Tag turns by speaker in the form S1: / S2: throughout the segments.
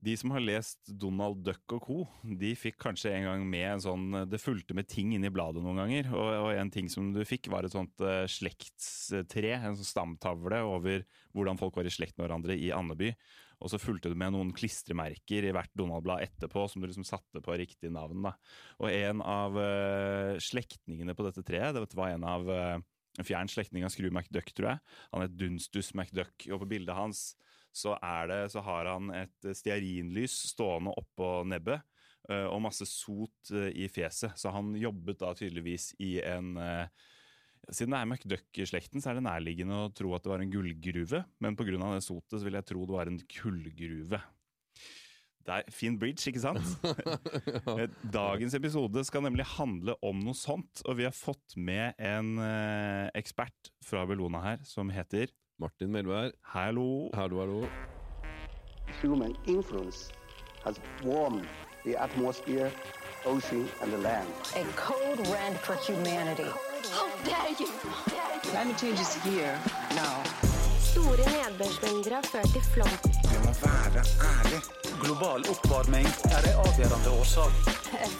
S1: De som har lest Donald Duck og co., de fikk kanskje en gang med en sånn Det fulgte med ting inni bladet noen ganger, og, og en ting som du fikk, var et sånt eh, slektstre, en sånn stamtavle over hvordan folk var i slekt med hverandre i Andeby. Og så fulgte du med noen klistremerker i hvert Donald-blad etterpå, som du liksom satte på riktig navn, da. Og en av eh, slektningene på dette treet, det var en av eh, en fjern slektning av Screw McDuck, tror jeg. Han het Dunstus McDuck, og på bildet hans så, er det, så har han et eh, stearinlys stående oppå nebbet eh, og masse sot eh, i fjeset. Så han jobbet da tydeligvis i en eh, Siden det er McDuck-slekten, så er det nærliggende å tro at det var en gullgruve, men pga. det sotet så vil jeg tro det var en kullgruve. Der, fin bridge, ikke sant? Eh, Dagens episode skal nemlig handle om noe sånt, og vi har fått med en eh, ekspert fra Bellona her som heter
S2: Martin Melvær,
S1: Hallo.
S2: hallo, hallo.
S3: human influence has warmed the atmosphere, ocean, and the land.
S4: A code red for humanity.
S5: How dare you!
S4: Climate change is here now.
S5: Store nedbørsmengder har ført til flom.
S6: Jeg må være ærlig. Global oppvarming er en avgjørende årsak.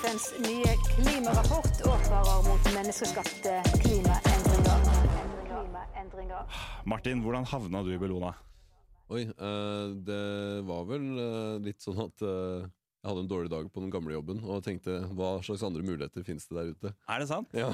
S7: FNs nye klimarapport advarer mot menneskeskapte klimaendringer. klimaendringer.
S1: Martin, hvordan havna du i Bellona?
S2: Oi, eh, det var vel eh, litt sånn at eh, jeg hadde en dårlig dag på den gamle jobben og tenkte hva slags andre muligheter finnes det der ute?
S1: Er det sant?
S2: Ja.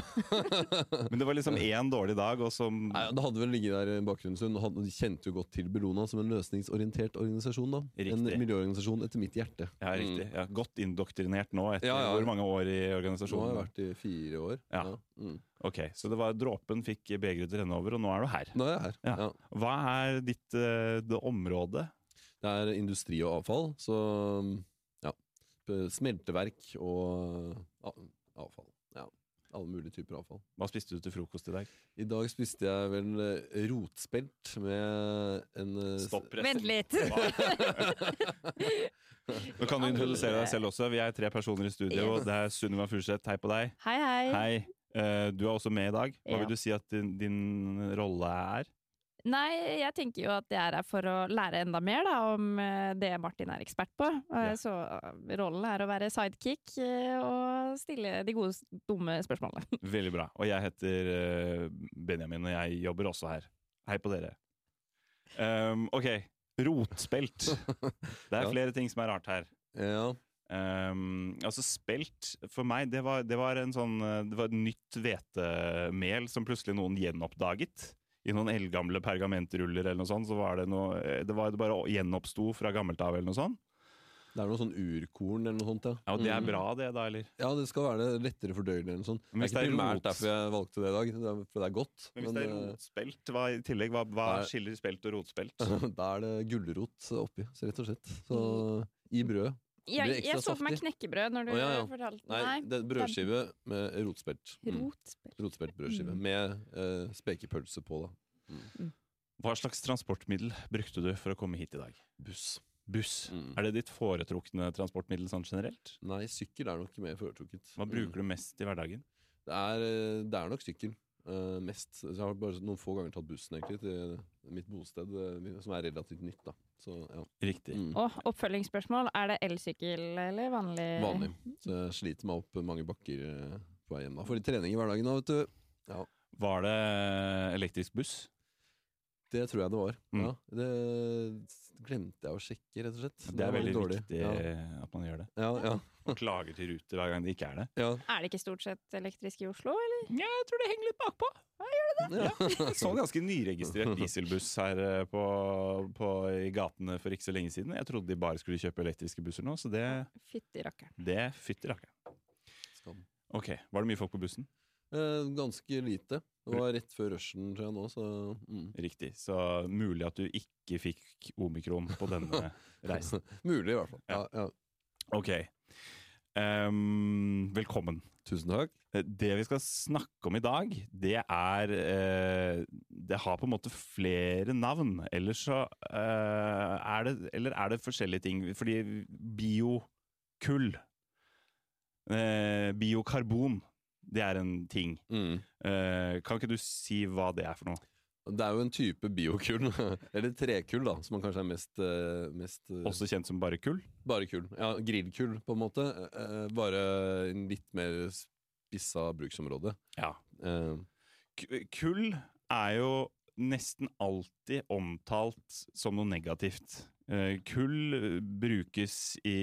S1: Men det var liksom én dårlig dag, og som
S2: Nei, Det hadde vel ligget der i bakgrunnen stund. og hadde- De kjente jo godt til Bellona som en løsningsorientert organisasjon. da En
S1: Riktig.
S2: miljøorganisasjon etter mitt hjerte.
S1: Ja, riktig. Ja, godt indoktrinert nå, etter
S2: Mm. Ja, ja.
S1: hvor mange år i
S2: Nå har jeg
S1: organisasjonen?
S2: vært i fire år.
S1: Ja.
S2: Mm.
S1: Ok, Så det var dråpen fikk begeret til å renne over, og nå er du her.
S2: Nå er jeg her.
S1: Ja.
S2: Ja.
S1: Hva er ditt eh, det område?
S2: Det er industri og avfall, så ja. Smelteverk og eh, a- avfall. Ja. Alle mulige typer avfall.
S1: Hva spiste du til frokost i dag?
S2: I dag spiste jeg vel eh, rotspelt med en eh, s-
S8: Vent litt.
S1: Nå kan du introdusere deg selv også. Vi er tre personer i studio. og Det er Sunniva Furseth. Hei på deg.
S8: Hei, hei.
S1: Hei. Eh, Du er også med i dag. Hva
S8: Ja.
S1: vil du si at din, din rolle er?
S8: Nei, jeg tenker jo at jeg er her for å lære enda mer da, om eh, det Martin er ekspert på. Eh,
S1: Ja.
S8: Så eh, rollen er å være sidekick eh, og stille de gode, s- dumme spørsmålene.
S1: Veldig bra. Og jeg heter eh, Benjamin, og jeg jobber også her. Hei på dere. Um, ok, rotspelt. Det er
S2: Ja.
S1: flere ting som er rart her.
S2: Ja.
S1: Um, altså spelt, for meg, det var, det var en sånn eh, Det var et nytt hvetemel som plutselig noen gjenoppdaget. I noen eldgamle pergamentruller eller noe sånt, så var det noe eh, Det, var, det bare gjenoppsto fra gammelt av eller noe sånt.
S2: Det er noe sånn urkorn eller noe sånt. Ja,
S1: Ja, og det er
S2: Mm.
S1: bra, det, da, eller?
S2: Ja, det skal være det lettere fordøyelig eller noe sånt.
S1: Men
S2: sånn. Det
S1: hvis
S2: er
S1: det
S2: ikke
S1: er
S2: primært
S1: rot-
S2: derfor jeg valgte det i dag, det er fordi det er godt.
S1: Men hvis det er
S2: eh,
S1: rotspelt, hva, i tillegg, hva, hva
S2: Nei.
S1: skiller spelt og rotspelt?
S2: eh, da er det gulrot oppi, så rett og slett. Så i brødet.
S8: Jeg,
S2: blir ekstra
S8: jeg så for meg
S2: saftig.
S8: knekkebrød når du
S2: Å, ja, ja.
S8: fortalte
S2: Nei, det er brødskive med rotspelt.
S8: det er
S2: Mm.
S8: Rotspill.
S2: Rotspelt brødskive med eh, spekepølse på, da.
S1: Hva slags transportmiddel brukte du for å komme hit i dag?
S2: Buss.
S1: Buss.
S2: Mm.
S1: Er det ditt foretrukne transportmiddel sånn generelt?
S2: Nei, sykkel er nok mer foretrukket.
S1: Hva bruker du mest i hverdagen?
S2: Det er, eh, det er nok sykkel. eh, mest. Så jeg har bare noen få ganger tatt bussen egentlig til mitt bosted, eh, som er relativt nytt. da Så ja,
S1: Riktig.
S2: Mm.
S8: Og oppfølgingsspørsmål, er det elsykkel eller vanlig?
S2: Vanlig. Så jeg sliter meg opp mange bakker eh, på vei hjem. da Får litt trening i hverdagen da, vet du. Ja,
S1: Var det eh, elektrisk buss?
S2: Det tror jeg det var.
S1: Mm.
S2: Ja, det glemte jeg å sjekke, rett og slett.
S1: Det er
S2: var
S1: veldig
S2: litt dårlig.
S1: viktig eh,
S2: Ja,
S1: at man gjør det.
S2: ja, ja,
S1: Og klager til Ruter hver gang det ikke er det.
S2: ja.
S8: Er det ikke stort sett elektrisk i Oslo, eller?
S1: Ja, jeg tror det henger litt bakpå.
S2: ja.
S1: Jeg så en ganske nyregistrert dieselbuss her eh, på, på, i gatene for ikke så lenge siden. Jeg trodde de bare skulle kjøpe elektriske busser nå, så det,
S8: Fytti rakkeren.
S1: det fytti rakkeren.
S2: Skam.
S1: Ok, Var det mye folk på bussen?
S2: Eh, ganske lite. Det var rett før rushen, tror jeg nå, så mm.
S1: Riktig. Så mulig at du ikke fikk omikron på denne reisen.
S2: Mulig, i hvert fall. Ja, ja.
S1: Ok. Ehm, velkommen. Eh,
S2: Tusen takk.
S1: Det vi skal snakke om i dag, det er eh, Det har på en måte flere navn. Eller så eh, er det Eller er det forskjellige ting? Fordi biokull eh, Biokarbon, det er en ting.
S2: Mm.
S1: Eh, kan ikke du si hva det er for noe?
S2: Det er jo en type biokull, eller trekull, da, som man kanskje er mest, eh, mest eh,
S1: Også kjent som bare kull.
S2: Bare kull. Ja, grillkull, på en måte. eh, Bare en litt mer spissa bruksområde.
S1: Ja.
S2: Eh,
S1: K- Kull er jo nesten alltid omtalt som noe negativt. Eh, Kull eh, brukes i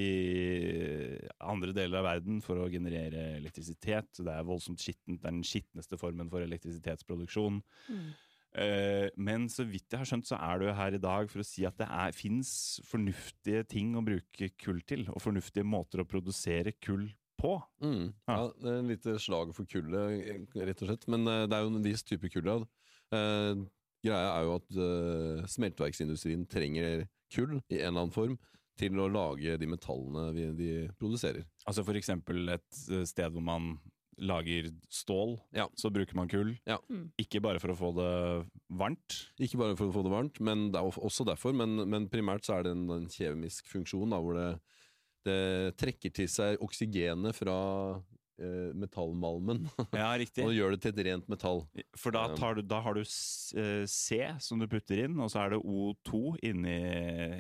S1: andre deler av verden for å generere elektrisitet. Det er voldsomt skittent. Det er den skitneste formen for elektrisitetsproduksjon. Eh, Men så vidt jeg har skjønt, så er du her i dag for å si at det fins fornuftige ting å bruke kull til, og fornuftige måter å produsere kull på.
S2: Mm. Ja.
S1: Ja.
S2: det er en lite slag for kullet, rett og slett. Men eh, det er jo en viss type kull. Ja. Eh, greia er jo at eh, smelteverksindustrien trenger kull i en eller annen form til å lage de metallene vi, de produserer.
S1: Altså for eksempel et eh, sted hvor man lager stål,
S2: Ja.
S1: så bruker man kull.
S2: Ja.
S8: Mm.
S1: Ikke bare for å få det varmt.
S2: Ikke bare for å få det varmt, men det er of- også derfor. Men, men primært så er det en, en kjemisk funksjon da, hvor det, det trekker til seg oksygenet fra eh, metallmalmen
S1: Ja,
S2: og
S1: riktig.
S2: gjør det til et rent metall.
S1: For da,
S2: Um.
S1: tar du, da har du s- eh, C som du putter inn, og så er det O2 inni,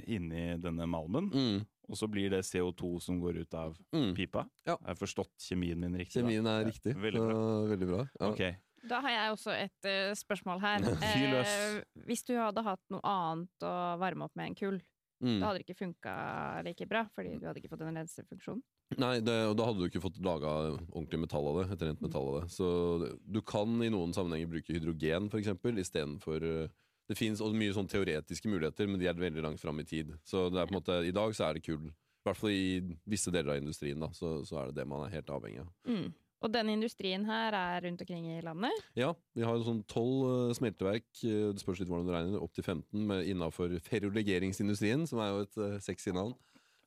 S1: inni denne malmen.
S2: Mm.
S1: Og så blir det CO2 som går ut av
S2: Mm.
S1: pipa.
S2: Ja.
S1: Jeg har forstått kjemien min riktig. da.
S2: Kjemien er
S1: Ja,
S2: riktig.
S1: Veldig bra.
S2: Så, veldig bra. Ja.
S1: Ok.
S8: Da har jeg også et eh, spørsmål her.
S1: Fyr løs.
S8: Eh, hvis du hadde hatt noe annet å varme opp med enn kull,
S2: Mm.
S8: da hadde det ikke funka like bra, fordi du hadde ikke fått den rensefunksjonen.
S2: Nei, det, og da hadde du ikke fått laga ordentlig metall av det. Et rent metall av det. Så du kan i noen sammenhenger bruke hydrogen for eksempel, istedenfor Det fins mye sånn teoretiske muligheter, men de er veldig langt fram i tid. Så det er på en måte, i dag så er det kull. I hvert fall i visse deler av industrien, da, så, så er det det man er helt avhengig av.
S8: Mm. Og denne industrien her er rundt omkring i landet.
S2: Ja, vi har jo sånn tolv smelteverk, eh, det spørs litt hvordan du regner, opp til 15 innafor ferrolegeringsindustrien, som er jo et eh, sexy navn.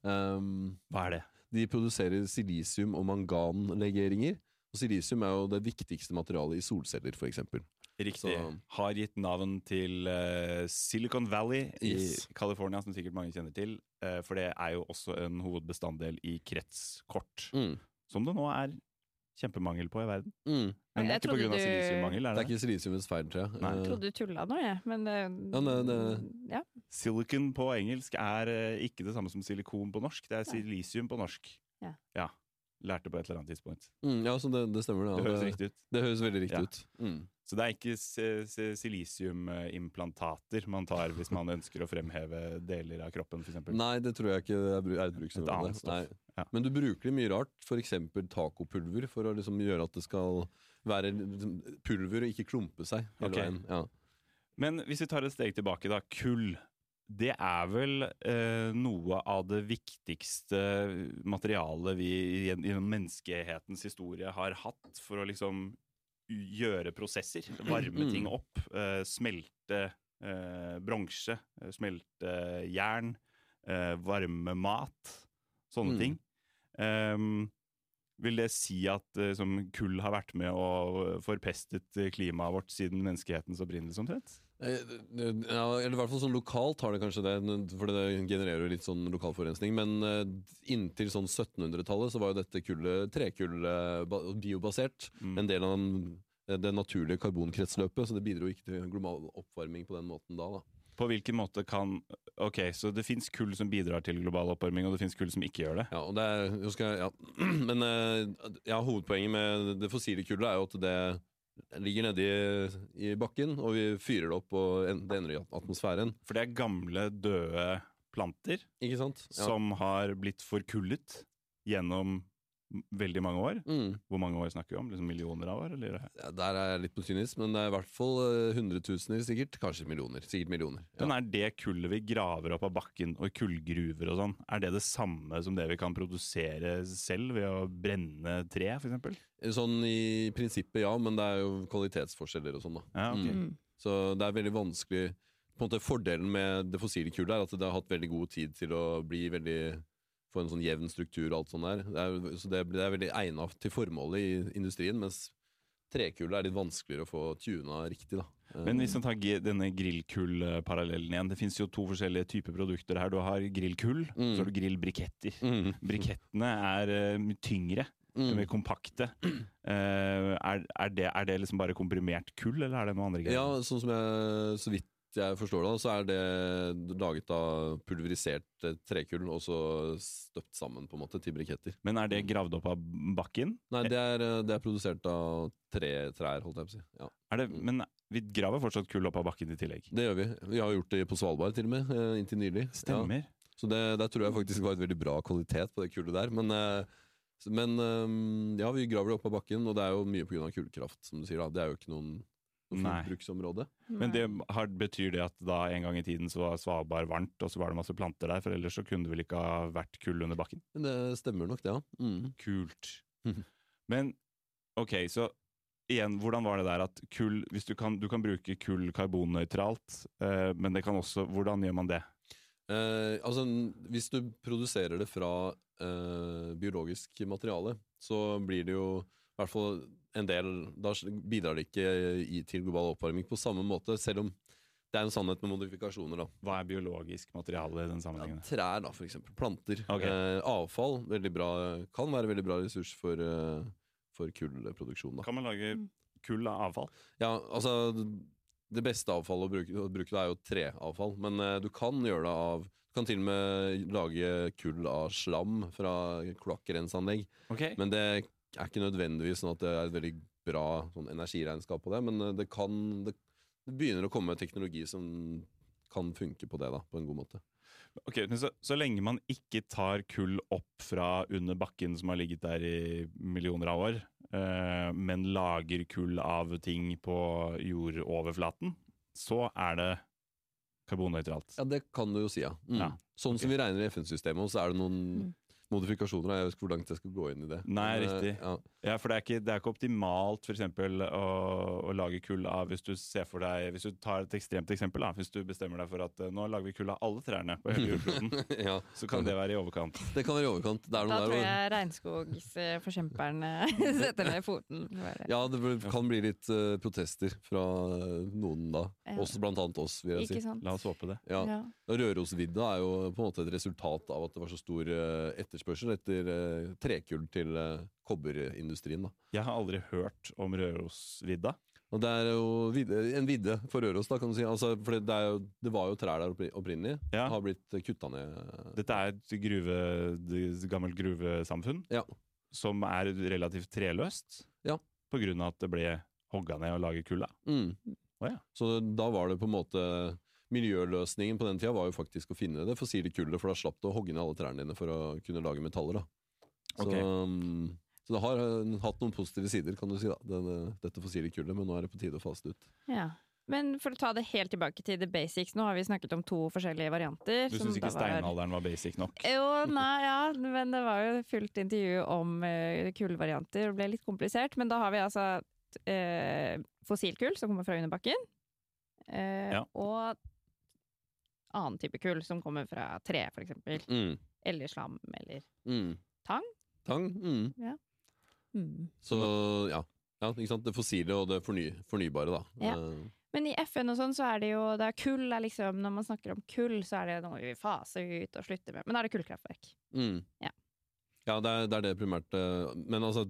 S2: Um,
S1: Hva er det?
S2: De produserer silisium- og manganlegeringer. Og silisium er jo det viktigste materialet i solceller, f.eks.
S1: Riktig.
S2: Så-
S1: Har gitt navn til eh, Silicon Valley
S2: Yes.
S1: i California, som sikkert mange kjenner til. eh, for det er jo også en hovedbestanddel i kretskort,
S2: Mm.
S1: som det nå er kjempemangel på i verden.
S2: Mm.
S1: Men det er
S8: Jeg
S1: ikke pga.
S8: trodde du-
S1: silisiummangel,
S2: Det
S1: er
S2: er
S1: det?
S2: ikke silisiumets feil, tror jeg.
S1: Nei.
S2: Eh,
S8: Jeg trodde du tulla nå, jeg. Men det,
S2: Ja, nei, det-
S8: ja.
S1: Silicon på engelsk er eh, ikke det samme som silikon på norsk. Det er silisium på norsk.
S8: Ja.
S1: Lærte på et eller annet tidspunkt.
S2: mm, ja, så det, det stemmer.
S1: Det
S2: Det,
S1: høres
S2: det,
S1: riktig ut.
S2: det høres veldig riktig
S1: Ja.
S2: ut. Mm.
S1: Så det er ikke si- si- silisiumimplantater eh, man tar hvis man ønsker å fremheve deler av kroppen, f.eks.
S2: Nei, det tror jeg ikke er bru- er et
S1: Et
S2: bruksområde.
S1: annet stoff.
S2: Nei.
S1: Ja.
S2: Men du bruker det mye rart, f.eks. tacopulver, for å liksom gjøre at det skal være liksom pulver og ikke klumpe seg hele
S1: Ok.
S2: veien. Ja.
S1: Men hvis vi tar et steg tilbake, da. Kull. Det er vel eh, noe av det viktigste materialet vi gjen- gjennom menneskehetens historie har hatt for å liksom gjøre prosesser. Varme
S2: Mm.
S1: ting opp. Eh, smelte eh, bronse. eh, Smelte jern. Eh, varme mat. Sånne
S2: Mm.
S1: ting. Ehm, vil det si at eh, som kull har vært med og forpestet eh, klimaet vårt siden menneskehetens opprinnelse, omtrent?
S2: Eh, Ja, eller i hvert fall sånn lokalt har det kanskje det, for det genererer jo litt sånn lokal forurensning. Men eh, inntil sånn 1700-tallet så var jo dette kullet trekullet ba- biobasert.
S1: Mm.
S2: En del av den, eh, det naturlige karbonkretsløpet, så det bidro ikke til global oppvarming på den måten da. da.
S1: På hvilken måte kan Ok, så det fins kull som bidrar til global oppvarming, og det fins kull som ikke gjør det.
S2: Ja, og det er, nå skal jeg, ja. Men eh, ja, hovedpoenget med det fossile kullet er jo at det ligger nedi i bakken, og vi fyrer det opp, og en- det endrer atmosfæren.
S1: For det er gamle, døde planter
S2: Ikke sant? Ja.
S1: som har blitt forkullet gjennom m- veldig mange år.
S2: Mm.
S1: Hvor mange år snakker vi om? Liksom millioner av år? Eller?
S2: Ja, Der er jeg litt på kynisk, men det er i hvert fall eh, hundretusener, sikkert. Kanskje millioner. Sikkert millioner. Ja.
S1: Men er det kullet vi graver opp av bakken, og kullgruver og sånn, er det det samme som det vi kan produsere selv ved å brenne tre, f.eks.?
S2: Sånn i prinsippet, ja, men det er jo kvalitetsforskjeller og sånn, da.
S1: Ja, ok.
S2: Mm. Så det er veldig vanskelig På en måte Fordelen med det fossile kullet er at det har hatt veldig god tid til å bli veldig få en sånn jevn struktur og alt sånt der. Det er, så det, det er veldig egna til formålet i industrien, mens trekullet er litt vanskeligere å få tuna riktig, da.
S1: Men hvis man tar gi- denne grillkull-parallellen igjen, det fins jo to forskjellige typer produkter her. Du har grillkull,
S2: Mm.
S1: så har du grillbriketter.
S2: Mm.
S1: Brikettene er eh, mye tyngre, de er kompakte. Eh, er, er, det, er det liksom bare komprimert kull, eller er det noe andre
S2: Ja,
S1: greier?
S2: sånn som jeg, så vidt jeg forstår det, så er det laget av pulverisert eh, trekull og så støpt sammen på en måte til briketter.
S1: Men er det gravd opp av bakken?
S2: Nei, det er, eh, det er produsert av tre trær, holdt jeg på å si. Ja,
S1: Er det, men vi graver fortsatt kull opp av bakken i tillegg.
S2: det gjør vi. Vi har gjort det på Svalbard til og med, eh, inntil nylig. Ja.
S1: Stemmer.
S2: Så det, der tror jeg faktisk var et veldig bra kvalitet på det kullet der. Men, eh, s- men eh, ja, vi graver det opp av bakken, og det er jo mye pga. kullkraft, som du sier. da. Det er jo ikke noen noe
S1: Nei.
S2: bruksområde.
S1: Men det har, betyr det at da en gang i tiden så var Svalbard varmt, og så var det masse planter der, for ellers så kunne det vel ikke ha vært kull under bakken?
S2: Men det stemmer nok, det, ja. Mm.
S1: Kult. Men ok, så igjen, hvordan var det der at kull hvis Du kan, du kan bruke kull karbonnøytralt, eh, men det kan også Hvordan gjør man det?
S2: Eh, altså, n- hvis du produserer det fra eh, biologisk materiale, så blir det jo i hvert fall en del Da s- bidrar det ikke i, til global oppvarming på samme måte, selv om det er en sannhet med modifikasjoner, da.
S1: Hva er biologisk materiale i den
S2: Ja,
S1: sammenhengen?
S2: trær, da, for eksempel. Planter.
S1: Ok.
S2: Eh, avfall veldig bra, kan være veldig bra ressurs for, eh, for kullproduksjon. Da.
S1: Kan man lage kull av avfall?
S2: Ja, altså, det beste avfallet å bruke, å bruke da er jo treavfall, men eh, du kan gjøre det av Du kan til og med lage kull av slam fra kloakkrenseanlegg,
S1: Ok.
S2: men det er ikke nødvendigvis sånn at det er et veldig bra sånn, energiregnskap på det, men eh, det kan det, det begynner å komme teknologi som kan funke på det, da, på en god måte.
S1: Ok, men så, så lenge man ikke tar kull opp fra under bakken som har ligget der i millioner av år, eh, men lager kull av ting på jordoverflaten, så er det karbonnøytralt.
S2: Ja, det kan du jo si, ja. Mm.
S1: Ja,
S2: Sånn som vi regner i FN-systemet, og så er det noen
S8: Mm.
S2: modifikasjoner. og Jeg vet ikke hvor langt jeg skal gå inn i det.
S1: Nei,
S2: Men, eh,
S1: riktig.
S2: Ja.
S1: Ja, for det er ikke, det er ikke optimalt for eksempel å, å lage kull av hvis du ser for deg, hvis du tar et ekstremt eksempel da, hvis du bestemmer deg for at eh, nå lager vi kull av alle trærne på hele jordkloden,
S2: ja,
S1: så kan det være i overkant.
S2: det kan være i overkant. Det er
S8: Da
S2: noe
S8: tror
S2: der, og,
S8: jeg regnskogsforkjemperen eh, setter ned foten. Bare.
S2: ja, det blir- kan bli litt eh, protester fra eh, noen da.
S8: Ja.
S2: Også blant annet oss, vil jeg
S8: Ikke
S2: si.
S8: sant?
S1: La oss håpe det.
S2: Ja.
S8: Ja.
S2: Og Rørosvidda er jo på en måte et resultat av at det var så stor eh, etterspørsel etter eh, trekull til eh, kobberindustrien. da.
S1: Jeg har aldri hørt om Rørosvidda.
S2: Og det er jo vidde, en vidde for Røros, da, kan du si. Altså, for det, er jo, det var jo trær der oppri- opprinnelig.
S1: Ja.
S2: Har blitt kutta ned
S1: Dette er et gruve, det- gammelt gruvesamfunn
S2: Ja.
S1: som er relativt treløst
S2: Ja.
S1: på grunn av at det ble hogga ned og laget kull av.
S2: Mm.
S1: Å, ja.
S2: Så da var det på en måte Miljøløsningen på den tida var jo faktisk å finne det fossile kullet, for da slapp du å hogge ned alle trærne dine for å kunne lage metaller. da. Så,
S1: Ok.
S2: um, så det har eh, hatt noen positive sider, kan du si, da, den, eh, dette fossile kullet, men nå er det på tide å fase det ut.
S8: Ja. Men for å ta det helt tilbake til the basics, nå har vi snakket om to forskjellige varianter.
S1: Du
S8: som
S1: syns
S8: da
S1: ikke steinalderen var basic nok?
S8: Jo, nei, ja, men det var jo fullt intervju om uh, kullvarianter. Det ble litt komplisert, men da har vi altså eh, fossilkull som kommer fra under bakken, eh,
S1: Ja.
S8: og annen type kull som kommer fra tre, for eksempel.
S2: Mm.
S8: Eller slam, eller
S2: Mm.
S8: Tang?
S2: Tang, mm.
S8: Mm.
S2: Så ja. ja, ikke sant. Det fossile og det forny, fornybare, da.
S8: Ja.
S2: Eh,
S8: Men i FN og sånn, så er det jo det er kull er liksom, Når man snakker om kull, så er det noe vi faser ut og slutter med. Men da er det kullkraftverk.
S2: Mm.
S8: Ja.
S2: Ja, det er, det er det primært. eh, Men altså,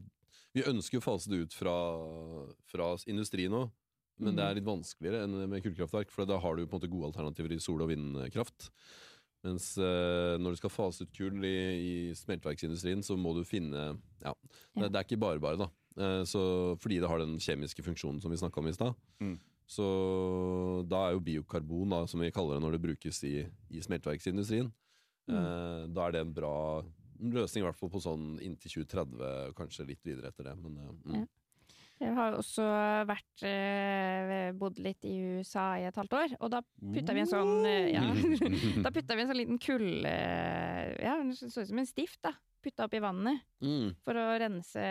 S2: vi ønsker å fase det ut fra, fra industri nå, men det
S8: Mm.
S2: er litt vanskeligere enn med kullkraftverk, for da har du på en måte gode alternativer i sol- og vindkraft. Mens eh, når du skal fase ut kull i, i smelteverksindustrien, så må du finne Ja,
S8: Ja.
S2: det, det er ikke bare bare, da. Eh, så, fordi det har den kjemiske funksjonen som vi snakka om i stad.
S1: Mm.
S2: Så da er jo biokarbon, da, som vi kaller det når det brukes i, i smelteverksindustrien,
S8: Mm.
S2: Eh, Da er det en bra løsning, i hvert fall på sånn inntil 2030, kanskje litt videre etter det. Men, eh, mm.
S8: Ja. Jeg har jo også vært, eh, bodd litt i USA i et halvt år, og da putta vi en sånn eh,
S2: Mm.
S8: ja, Da putta vi en sånn liten kull... eh, Ja, den så ut som en stift, da. Putta oppi vannet
S2: Mm.
S8: for å rense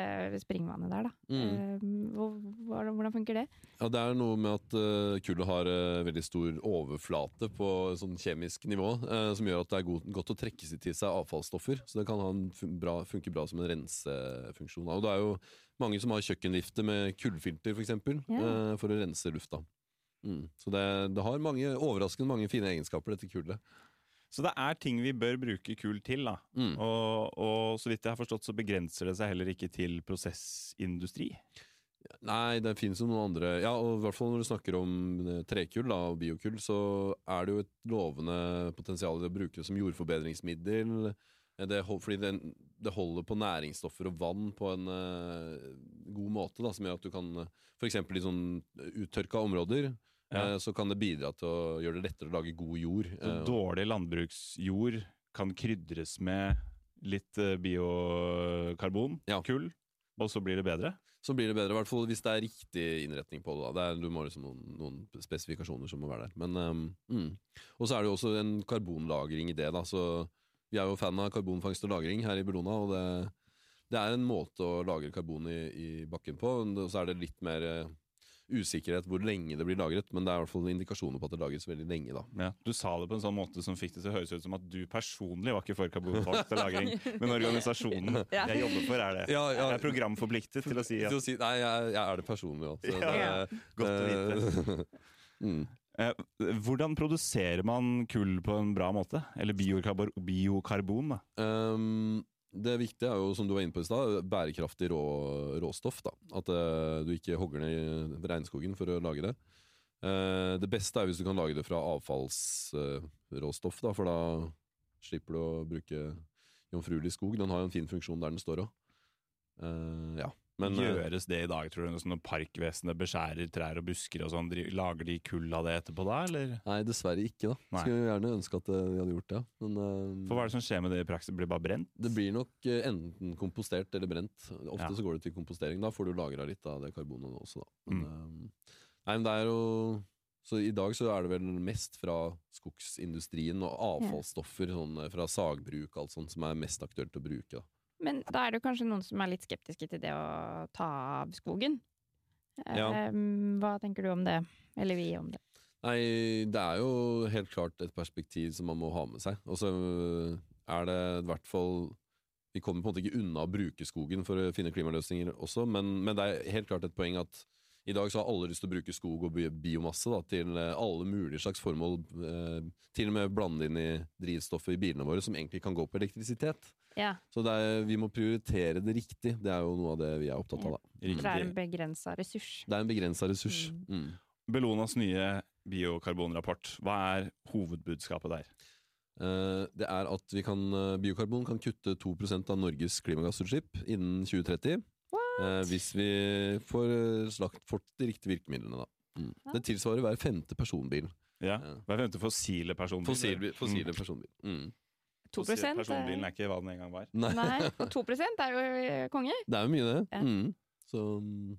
S8: springvannet der, da.
S2: Mm.
S8: Eh, hvor- hvor- Hvordan funker det?
S2: Ja, det er noe med at eh, kullet har eh, veldig stor overflate på sånn kjemisk nivå, eh, som gjør at det er god, godt å trekke seg til seg avfallsstoffer. Så det kan ha en fun bra, funke bra som en rensefunksjon. Og det er jo mange som har kjøkkenvifte med kullfilter, f.eks., eksempel,
S8: Ja.
S2: eh, for å rense lufta. Mm. Så det, det har mange, overraskende mange fine egenskaper, dette kullet.
S1: Så det er ting vi bør bruke kull til, da.
S2: Mm.
S1: Og, og så vidt jeg har forstått, så begrenser det seg heller ikke til prosessindustri.
S2: Nei, det finnes jo noen andre Ja, og i hvert fall når du snakker om eh, trekull da, og biokull, så er det jo et lovende potensial i å bruke det som jordforbedringsmiddel. Eh, Det, hol- fordi det, det holder på næringsstoffer og vann på en eh, god måte, da, som gjør at du kan eh, for eksempel i sånn uttørka områder,
S1: Ja.
S2: eh, så kan det bidra til å gjøre det lettere å lage god jord.
S1: Så
S2: eh,
S1: dårlig landbruksjord kan krydres med litt eh, biokarbon,
S2: Ja.
S1: kull, og så blir det bedre.
S2: så blir det bedre, i hvert fall hvis det er riktig innretning på det. da. Det er, du må liksom noen, noen spesifikasjoner som må være der. Men, ehm, mm. Og så er det jo også en karbonlagring i det. da, så Vi er jo fan av karbonfangst og -lagring her i Bellona, og det, det er en måte å lagre karbon i, i bakken på. Og så er det litt mer eh, usikkerhet hvor lenge det blir lagret, men det er i hvert fall indikasjoner på at det lagres veldig lenge. da.
S1: Ja. Du sa det på en sånn måte som fikk det til å høres ut som at du personlig var ikke for karbonfangst og -lagring, men organisasjonen
S8: Ja.
S1: jeg jobber for, er det.
S2: Ja, ja.
S1: Jeg er programforpliktet til å si at
S2: Til å si, nei, jeg, jeg er det personlig, altså.
S1: Ja.
S2: Det,
S1: Godt å
S2: vite. mm.
S1: Eh, Hvordan produserer man kull på en bra måte? Eller biokarbon, biokarbon da?
S2: Ehm, det viktige er jo, som du var inne på i stad, bærekraftig rå, råstoff. da. At eh, du ikke hogger ned regnskogen for å lage det. Eh, det beste er hvis du kan lage det fra avfallsråstoff, da, for da slipper du å bruke jomfruelig skog. Den har jo en fin funksjon der den står òg. ja. Men, eh,
S1: Gjøres det i dag, tror du? Sånn Når parkvesenet beskjærer trær og busker og sånn, dri- lager de kull av det etterpå da, eller?
S2: nei, dessverre ikke, da.
S1: Nei.
S2: Skulle jo gjerne ønske at eh, de hadde gjort det. ja. Men eh,
S1: For hva er det som skjer med det i praksis? Blir det bare brent?
S2: det blir nok eh, enten kompostert eller brent. Ofte
S1: Ja.
S2: så går det til kompostering. Da får du lagra litt av det karbonet også, da. Men,
S1: Mm.
S2: eh, nei, men det er jo Så i dag så er det vel mest fra skogsindustrien og avfallsstoffer sånn, eh, fra sagbruk alt sånt som er mest aktuelt å bruke. Da.
S8: Men da er det jo kanskje noen som er litt skeptiske til det å ta av skogen.
S2: Ja.
S8: Eh, Hva tenker du om det? Eller vi om det?
S2: Nei, det er jo helt klart et perspektiv som man må ha med seg. Og så øh, er det i hvert fall Vi kommer på en måte ikke unna å bruke skogen for å finne klimaløsninger også, men, men det er helt klart et poeng at i dag så har alle lyst til å bruke skog og bi- biomasse da, til øh, alle mulige slags formål. øh, Til og med blande inn i drivstoffet i bilene våre, som egentlig kan gå på elektrisitet.
S8: Ja,
S2: Så det er, vi må prioritere det riktig. Det er jo noe av det vi er opptatt av. Da.
S8: for det er en begrensa ressurs.
S2: Det er en begrensa ressurs. Mm.
S1: Bellonas nye biokarbonrapport, hva er hovedbudskapet der?
S2: Eh, Det er at vi kan, eh, biokarbon kan kutte 2 av Norges klimagassutslipp innen 2030. eh, Hvis vi får eh, slakt fort de riktige virkemidlene, da. Mm. Det tilsvarer hver femte personbil.
S1: Ja.
S2: Ja.
S1: Hva er femte fossile personbiler?
S2: Fossil, Mm. fossile personbil. Mm.
S8: 2
S1: Fossile
S8: er-
S1: personbilen er ikke hva den en gang var.
S2: Nei,
S8: Nei, og 2 er jo eh, konge.
S2: det er jo mye, det.
S8: Ja.
S2: Mm. Så mm,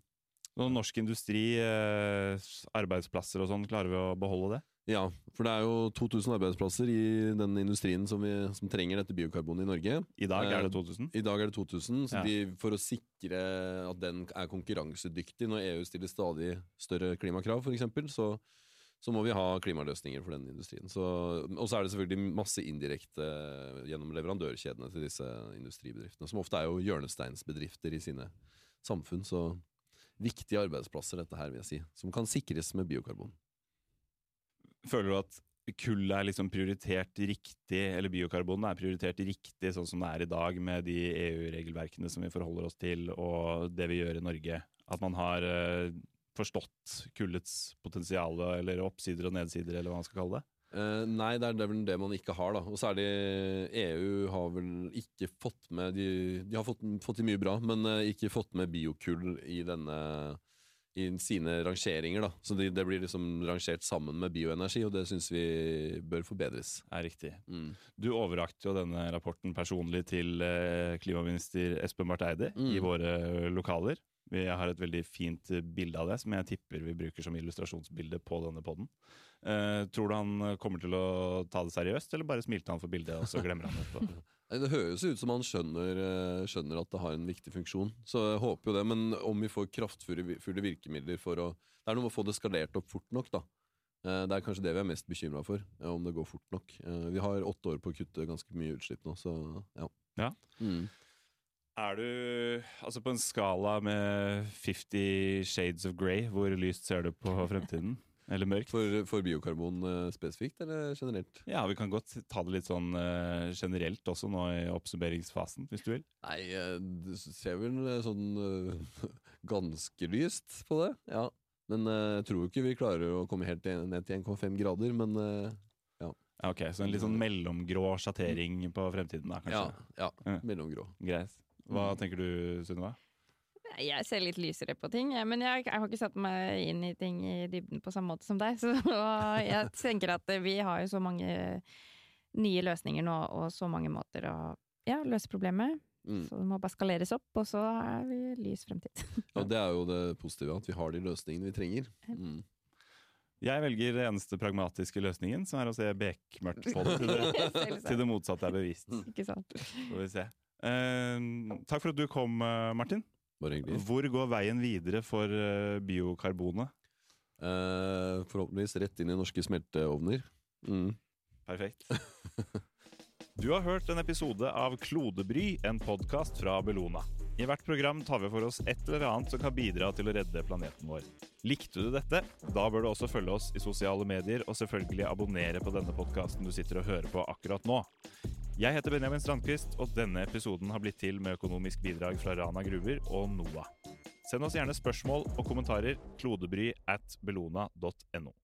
S1: Og norsk industri, eh, arbeidsplasser og sånn, klarer vi å beholde det?
S2: ja, for det er jo 2000 arbeidsplasser i den industrien som, vi, som trenger dette biokarbonet i Norge.
S1: I dag er det
S2: Eh,
S1: 2000?
S2: I dag er det 2000, så
S1: Ja.
S2: de, for å sikre at den er konkurransedyktig når EU stiller stadig større klimakrav, for eksempel, så, så må vi ha klimaløsninger for den industrien. Så, og så er det selvfølgelig masse indirekte eh, gjennom leverandørkjedene til disse industribedriftene, som ofte er jo hjørnesteinsbedrifter i sine samfunn. Så viktige arbeidsplasser, dette her, vil jeg si, som kan sikres med biokarbon.
S1: Føler du at kull er liksom prioritert riktig, eller biokarbonet er prioritert riktig sånn som det er i dag, med de EU-regelverkene som vi forholder oss til, og det vi gjør i Norge? At man har eh, forstått kullets potensial, eller oppsider og nedsider, eller hva man skal kalle det?
S2: Eh, nei, det er, det er vel det man ikke har, da. Og særlig EU har vel ikke fått med De, de har fått, fått til mye bra, men eh, ikke fått med biokull i denne i sine rangeringer, da. Så det, det blir liksom rangert sammen med bioenergi, og det syns vi bør forbedres.
S1: Er riktig.
S2: Mm.
S1: Du overrakte jo denne rapporten personlig til eh, klimaminister Espen Barth Eide i
S2: Mm.
S1: våre eh, lokaler. Vi har et veldig fint eh, bilde av det, som jeg tipper vi bruker som illustrasjonsbilde på denne podden. Eh, tror du han eh, kommer til å ta det seriøst, eller bare smilte han for bildet, og så glemmer han det etterpå?
S2: Nei, Det høres jo ut som han skjønner, eh, skjønner at det har en viktig funksjon, så jeg håper jo det. Men om vi får kraftfulle vi- fulle virkemidler for å Det er noe med å få det skalert opp fort nok, da. Eh, Det er kanskje det vi er mest bekymra for, eh, om det går fort nok. Eh, Vi har åtte år på å kutte ganske mye utslipp nå, så ja.
S1: Ja.
S2: Mm.
S1: Er du altså på en skala med 50 shades of grey, hvor lyst ser du på fremtiden? Eller mørkt.
S2: For, for biokarbon eh, spesifikt, eller generelt?
S1: Ja, vi kan godt ta det litt sånn eh, generelt også nå i oppsummeringsfasen, hvis du vil.
S2: Nei, eh, det ser vel eh, sånn eh, ganske lyst på det, ja. Men eh, jeg tror jo ikke vi klarer å komme helt til- ned til 1,5 grader, men eh,
S1: Ja, Ok, Så en litt sånn mellomgrå sjattering på fremtiden, da,
S2: ja,
S1: kanskje.
S2: ja,
S1: Ja.
S2: mellomgrå.
S1: Greit. Hva tenker du, Sunniva?
S8: Jeg ser litt lysere på ting, jeg, men jeg, jeg har ikke satt meg inn i ting i dybden på samme måte som deg. Så jeg tenker at vi har jo så mange nye løsninger nå, og så mange måter å ja, løse problemet.
S2: Mm.
S8: Så det må bare skaleres opp, og så er vi lys fremtid.
S2: Og det er jo det positive, at vi har de løsningene vi trenger. Mm.
S1: Jeg velger den eneste pragmatiske løsningen, som er å se bekmørkt på det til det, til det motsatte er bevist.
S8: Ikke sant?
S1: Får vi se. Eh, takk for at du kom, eh, Martin.
S2: Bare hyggelig.
S1: Hvor går veien videre for eh, biokarbonet?
S2: Eh, forhåpentligvis rett inn i norske smelteovner. Mm.
S1: Perfekt. Du har hørt en episode av Klodebry, en podkast fra Bellona. I hvert program tar vi for oss et eller annet som kan bidra til å redde planeten vår. Likte du dette? Da bør du også følge oss i sosiale medier, og selvfølgelig abonnere på denne podkasten du sitter og hører på akkurat nå. Jeg heter Benjamin Strandquist, og denne episoden har blitt til med økonomisk bidrag fra Rana Gruver og NOAH. Send oss gjerne spørsmål og kommentarer klodebry at bellona.no.